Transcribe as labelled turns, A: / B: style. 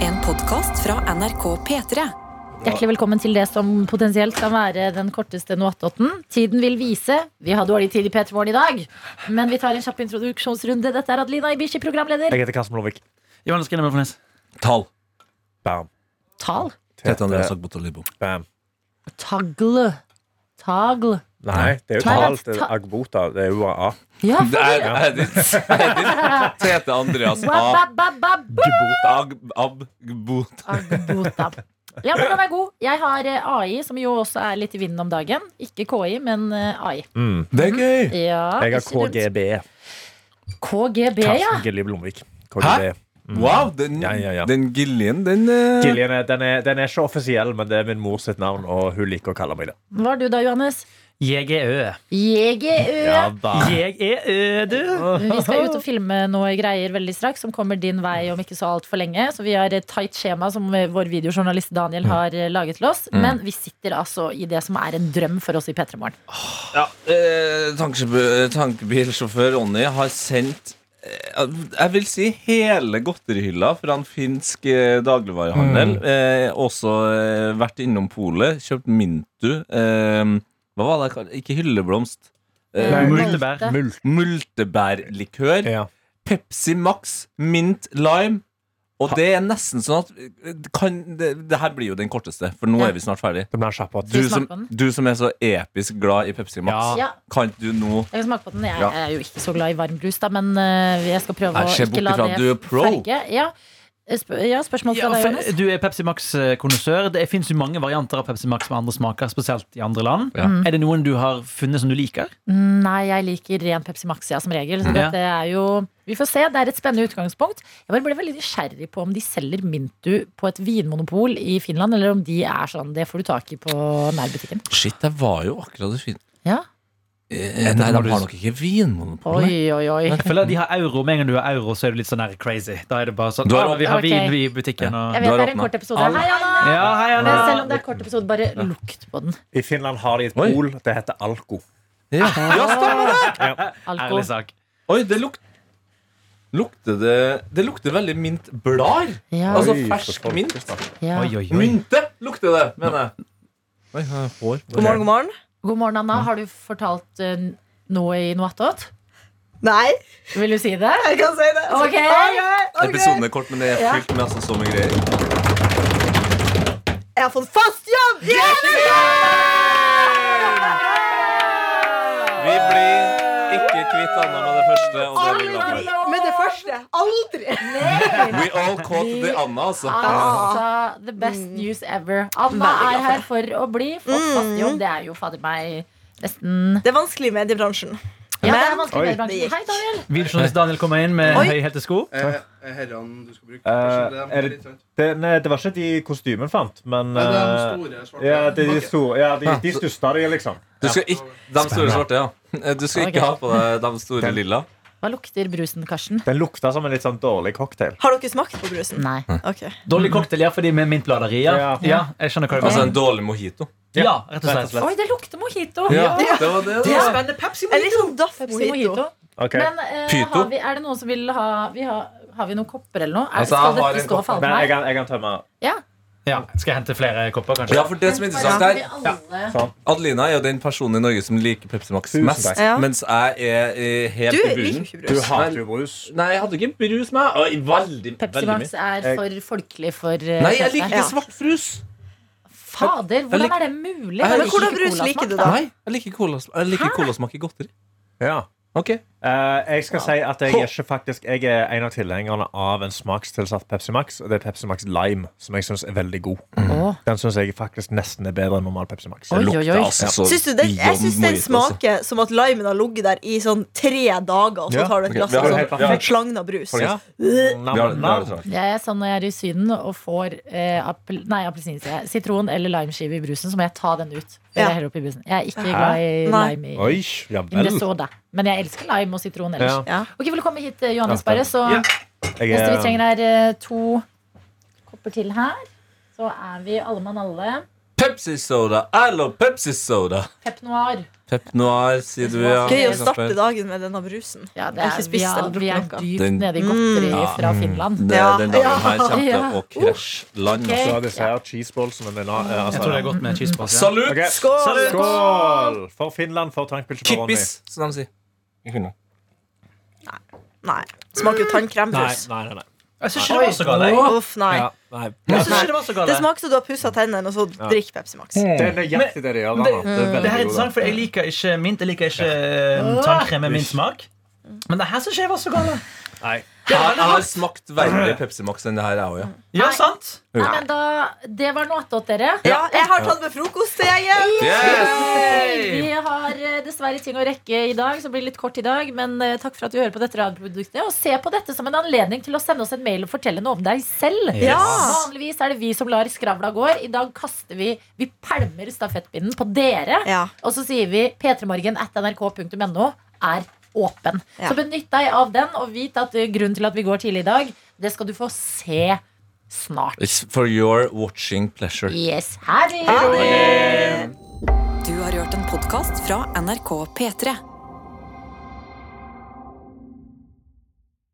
A: En podkast fra NRK P3.
B: Hjertelig velkommen til det som potensielt kan være den korteste noatotten. Tiden vil vise. Vi har dårlig tid i P3 Morgen i dag, men vi tar en kjapp introduksjonsrunde. Dette er Adelina Ibishi, programleder.
C: Jeg heter Karsten Blomvik.
D: Johannes Grine Melfarnes.
E: Tall.
C: Bam.
B: Tal.
E: Tete Andreas Agbotalibo.
C: Bam.
B: Tagle. Tagle.
C: Nei, det er jo
B: Nei,
C: talt.
B: ta-
C: Det er Agbota. Det er UAA.
B: Ja,
E: Det er, er det- er det- Tete Andreas A-
B: Wa-ba-ba-ba-bo.
E: Ag- Agbot.
B: Agbota. Ja, men den er god. Jeg har eh, AI, som jo også er litt i vinden om dagen. Ikke KI, men eh, AI.
E: Det er gøy!
B: Ja,
C: Jeg har
B: ikke dumt.
C: KGB.
B: KGB, ja.
C: E. Karsten Gilje Blomvik. KGB.
E: Mm. Wow, den,
C: Ja, ja, ja.
E: den Giljen, den eh,
C: Giljen er, den, er, den er ikke offisiell, men det er min mors sitt navn, og hun liker å kalle meg det.
B: Hva er du da, Johannes?
D: Jeg er Ø.
B: JGØ.
D: Jeg er Ø, du.
B: Vi skal ut og filme noe greier veldig straks som kommer din vei om ikke så altfor lenge. Så vi har et tight skjema som vår videojournalist Daniel har eh, laget til
E: Mm.
B: oss. Men vi sitter altså i det som er en drøm for oss i P3 Morgen.
E: ja, eh, tankesjåfør- Tankebilsjåfør Ronny har sendt eh, jeg vil si hele godterihylla fra en finsk eh, dagligvarehandel. Eh, også eh, vært innom polet, kjøpt Mintu. Eh, hva var det? jeg kalte- Ikke hylleblomst. Eh,
D: multebær.
B: Malte.
C: Mult.
E: Multebærlikør.
C: Ja.
E: Pepsi Max, mint, lime. Og det er nesten sånn at eh, kan, det, det her blir jo den korteste, for nå
B: Ja.
E: er vi snart ferdig.
C: Det blir en kjapp åt.
E: Du
B: Skal vi smake
E: som,
B: på den?
E: du som er så episk glad i Pepsi Max,
B: Ja.
E: kan ikke du nå
B: Jeg kan smake på den. Jeg
E: Ja.
B: er jo ikke så glad i varm brus, da, men eh, jeg skal prøve
E: Jeg
B: å
E: ser
B: ikke
E: bort
B: la
E: ifra
B: det
E: at du er pro.
B: farge. Ja. Eh, Sp ja, spørsmål fra
D: Ja,
B: deg,
D: for
B: Johannes?
D: du er Pepsi Max-kondisør. Det fins jo mange varianter av Pepsi Max med andre smaker, spesielt i andre land.
E: Ja.
D: Er det noen du har funnet som du liker?
B: Nei, jeg liker ren Pepsi Max ja, som regel. Så
D: Ja.
B: dette er jo Vi får se. Det er et spennende utgangspunkt. Jeg bare ble veldig nysgjerrig på om de selger Mintu på et vinmonopol i Finland, eller om de er sånn Det får du tak i på nærbutikken.
E: Shit, jeg var jo akkurat i Finn...
B: Ja.
E: Eh, nei, de har nok ikke vinmonopol.
B: Oi, oi, oi.
D: Jeg føler at de har euro. Med en gang du har euro, så er du litt sånn her crazy. Da er det bare sånn
E: Du har-
D: «Å, Vi har
B: Ok.
D: vin i butikken og
B: Jeg
E: Du
B: vet
E: har
B: det er en
E: åpnet.
B: kort episode. Hei, Anna!
D: Ja, hei, Anna.
B: Men selv om det er kort episode, bare lukt på den.
C: I Finland har de et
E: Oi.
C: pol. Det heter Alko.
E: Ja, ja stemmer det!
B: Alko.
D: Ærlig sak.
E: Oi, det luk lukter det Det lukter veldig mintblader.
B: Ja,
E: Altså
C: Oi,
E: fersk
C: for folk.
E: mint.
B: ja.
D: Oi, oi, oi.
E: Mynte lukter det, mener jeg. Oi, jeg har hår.
F: God morgen, god morgen.
B: God morgen, Anna. Har du fortalt eh, noe i noe attåt?
F: Nei,
B: Vil du si det?
F: jeg kan si det.
B: Ok.
F: Ok, ok.
E: Episoden er kort, men det er
B: Ja.
E: fylt med altså så mye greier.
F: Jeg har fått fast jobb!
E: Vi blir ikke kvitt Anna med det første. Og det er vi glad for.
F: Med det første. Aldri!
E: We all caught the Anna, altså.
F: Ah.
B: Altså, the best news ever. Anna
F: Veldig glad
B: er
F: for
B: her for å bli. Fått fast jobb. Det er jo fader meg nesten
F: Det er vanskelig i mediebransjen.
B: Ja, det er
F: Men-
B: vanskelig med
C: Oi.
B: bransjen. Hei, Daniel.
D: Videojournalist Daniel kommer inn med
F: Oi.
D: høyhælte sko.
G: Eh, herrene du skal bruke.
C: Eh,
G: Kanskje
C: er
G: det er
C: det-
G: litt høyt.
C: Det, nei, det var ikke de kostymen fant, men
G: Nei, det er de
C: eh,
G: store, svarte.
C: ja, det er de,
G: Ok.
C: store, ja, de, de største av de, liksom.
E: Du skal ikke, de store svarte, ja. Du skal ikke
B: Ok.
E: ha på deg de store lilla.
B: Hva lukter brusen, Karsten?
C: Den lukta som en litt sånn dårlig cocktail.
F: Har dere smakt på brusen?
B: Nei.
E: Mm.
F: Ok.
D: Dårlig cocktail, ja, fordi med mintblader i. Ja.
C: Ja.
D: ja, jeg skjønner hva du
E: Altså
D: mener.
E: en dårlig mojito.
D: Ja, rett og slett.
B: Oi, det lukter mojito.
E: Ja, det var det, da.
F: spennende Pepsi Mojito. Litt sånn Daff
B: Pepsi mojito.
F: Mojito.
C: Ok.
B: Men eh,
E: Pyto.
B: har vi, er det noen som vil ha vi har, har vi noen kopper eller noe? Er,
E: Altså, jeg
B: skal
E: har
B: dette stå
E: en kopp,
B: og falle
C: Men
B: med?
C: jeg kan, jeg kan tømme.
B: Ja.
D: Ja, skal jeg hente flere kopper, kanskje?
E: Ja, for det som er interessant
B: Skal
E: her
B: vi alle-
E: Adelina er jo den personen i Norge som liker Pepsi Max
C: Tusen
E: mest.
C: takk.
F: Ja.
E: Mens jeg er eh,
F: Du
E: helt i
F: liker
E: bunnen.
F: ikke
C: Du
F: brus.
C: hater jo brus.
E: Nei, jeg hadde ikke brus med meg. Oi, Veldig,
B: Pepsi
E: veldig mye.
B: Max er
C: Jeg-
B: for folkelig for eh,
E: Nei, jeg
B: Peter.
E: liker ikke
F: Ja.
E: svart frus.
B: Fader,
E: Jeg
B: hvordan
E: liker-
B: er det mulig?
E: Men
B: Jeg liker
F: hvordan
B: ikke
F: brus
B: colasmak,
F: liker du
B: da?
F: da?
E: Nei, jeg liker colas- jeg liker colasmak i godteri.
C: Ja.
E: Ok
C: Eh, jeg skal si at jeg er ikke faktisk Jeg er en av tilhengerne av en smakstilsatt Pepsi Max. Og det er Pepsi Max Lime, som jeg syns er veldig god.
B: Åh.
C: Den syns jeg faktisk nesten er bedre enn normal Pepsi Max.
B: Oi, oi, oi.
E: altså så
F: Syns du den, jeg
E: beyond
F: syns den
E: mojito, altså.
F: smaker som at limen har ligget der i sånn tre dager, og så
C: Ja.
F: tar du et
E: Ok,
F: glass
E: vi har
F: av
E: det helt
F: sånn
E: perfekt.
F: slagna brus.
C: Ja.
E: Vi har det- vi har det
C: Nam-nam.
E: sånn.
B: Jeg er sånn når jeg er i Syden og får eh, appel, nei, appelsin, sier jeg. sitron eller limeskive i brusen, så må jeg ta den ut. Før
F: Ja.
B: Jeg heller opp i brusen Jeg er ikke glad i
F: Nei.
B: lime. i-
C: Oi, ja
B: i
C: vel.
B: det soda. Men jeg elsker lime og sitron ellers.
C: Ja.
F: Ja.
B: Ok, Velkommen hit, eh, Johannes
C: Ja, takk.
B: Barre. Så
D: Ja.
B: neste
C: Jeg
B: vi eh,
C: er
B: trenger, er eh, to kopper til her. Så er vi alle mann alle.
E: Pepsi Soda! I love Pepsi Soda!
B: Pep noir.
E: Pep Noir, sier du, ja.
B: Gøy
F: Gøy å starte dagen med denne brusen.
B: Ja, det
F: Jeg har
B: er,
F: ikke
B: vi
F: spist
B: er,
F: eller drukket
B: vi er
F: noe.
B: dypt
E: Den-
B: nede i godteri
E: Ja.
B: fra Finland.
E: Det,
F: Ja.
E: den dagen her kommer
B: Ja.
E: til å krasje land.
B: Ok.
E: altså.
C: Så disse her cheeseballsene med na- eh, altså-
D: Jeg tror det er godt med cheeseburger.
E: Salut!
C: Ok.
F: Skål!
C: Skål! For Finland, for tankbilsje på Ronny.
E: Kippis, som de sier. Jeg kunne.
F: Nei. Smaker jo
C: Nei,
F: tannkrembrus.
C: nei, nei. nei.
D: Jeg syns ikke det var så galt. jeg.
F: Uff, nei.
C: Ja, nei.
D: Jeg synes ikke Det var så galt
F: Det
D: jeg.
F: smaker som du har pussa tennene, og så drikk Pepsi Max.
C: Det er nøyaktig det de gjør.
D: Men
C: da, nå.
D: det, Mm.
C: Det er veldig
D: det her er
C: god,
D: interessant,
C: da.
D: for jeg liker ikke mint. Jeg liker ikke eh, tannkrem med min smak. Men det her syns jeg var så galt.
C: Nei.
E: Jeg har- jeg har smakt verre Pepsi Max enn det her, jeg òg, ja.
D: Ja, sant?
B: Nei, men da, det var noe attåt, dere.
F: Ja, jeg har tatt med frokost til gjengen!
B: Vi har eh, dessverre ting å rekke i dag, så det blir litt kort i dag. Men eh, takk for at du hører på dette radioproduktet. Og se på dette som en anledning til å sende oss en mail og fortelle noe om deg selv.
F: Ja.
B: Vanligvis er det vi som lar skravla gå. I dag kaster vi Vi pælmer stafettpinnen på dere.
F: Ja.
B: Og så sier vi p3morgen at nrk.no er åpen.
F: Ja.
B: Så benytt deg av den, og vit at eh, grunnen til at vi går tidlig i dag, det skal du få se snart.
E: It's for your watching pleasure.
B: Yes, ha det!
A: Du har hørt en podkast fra NRK P3.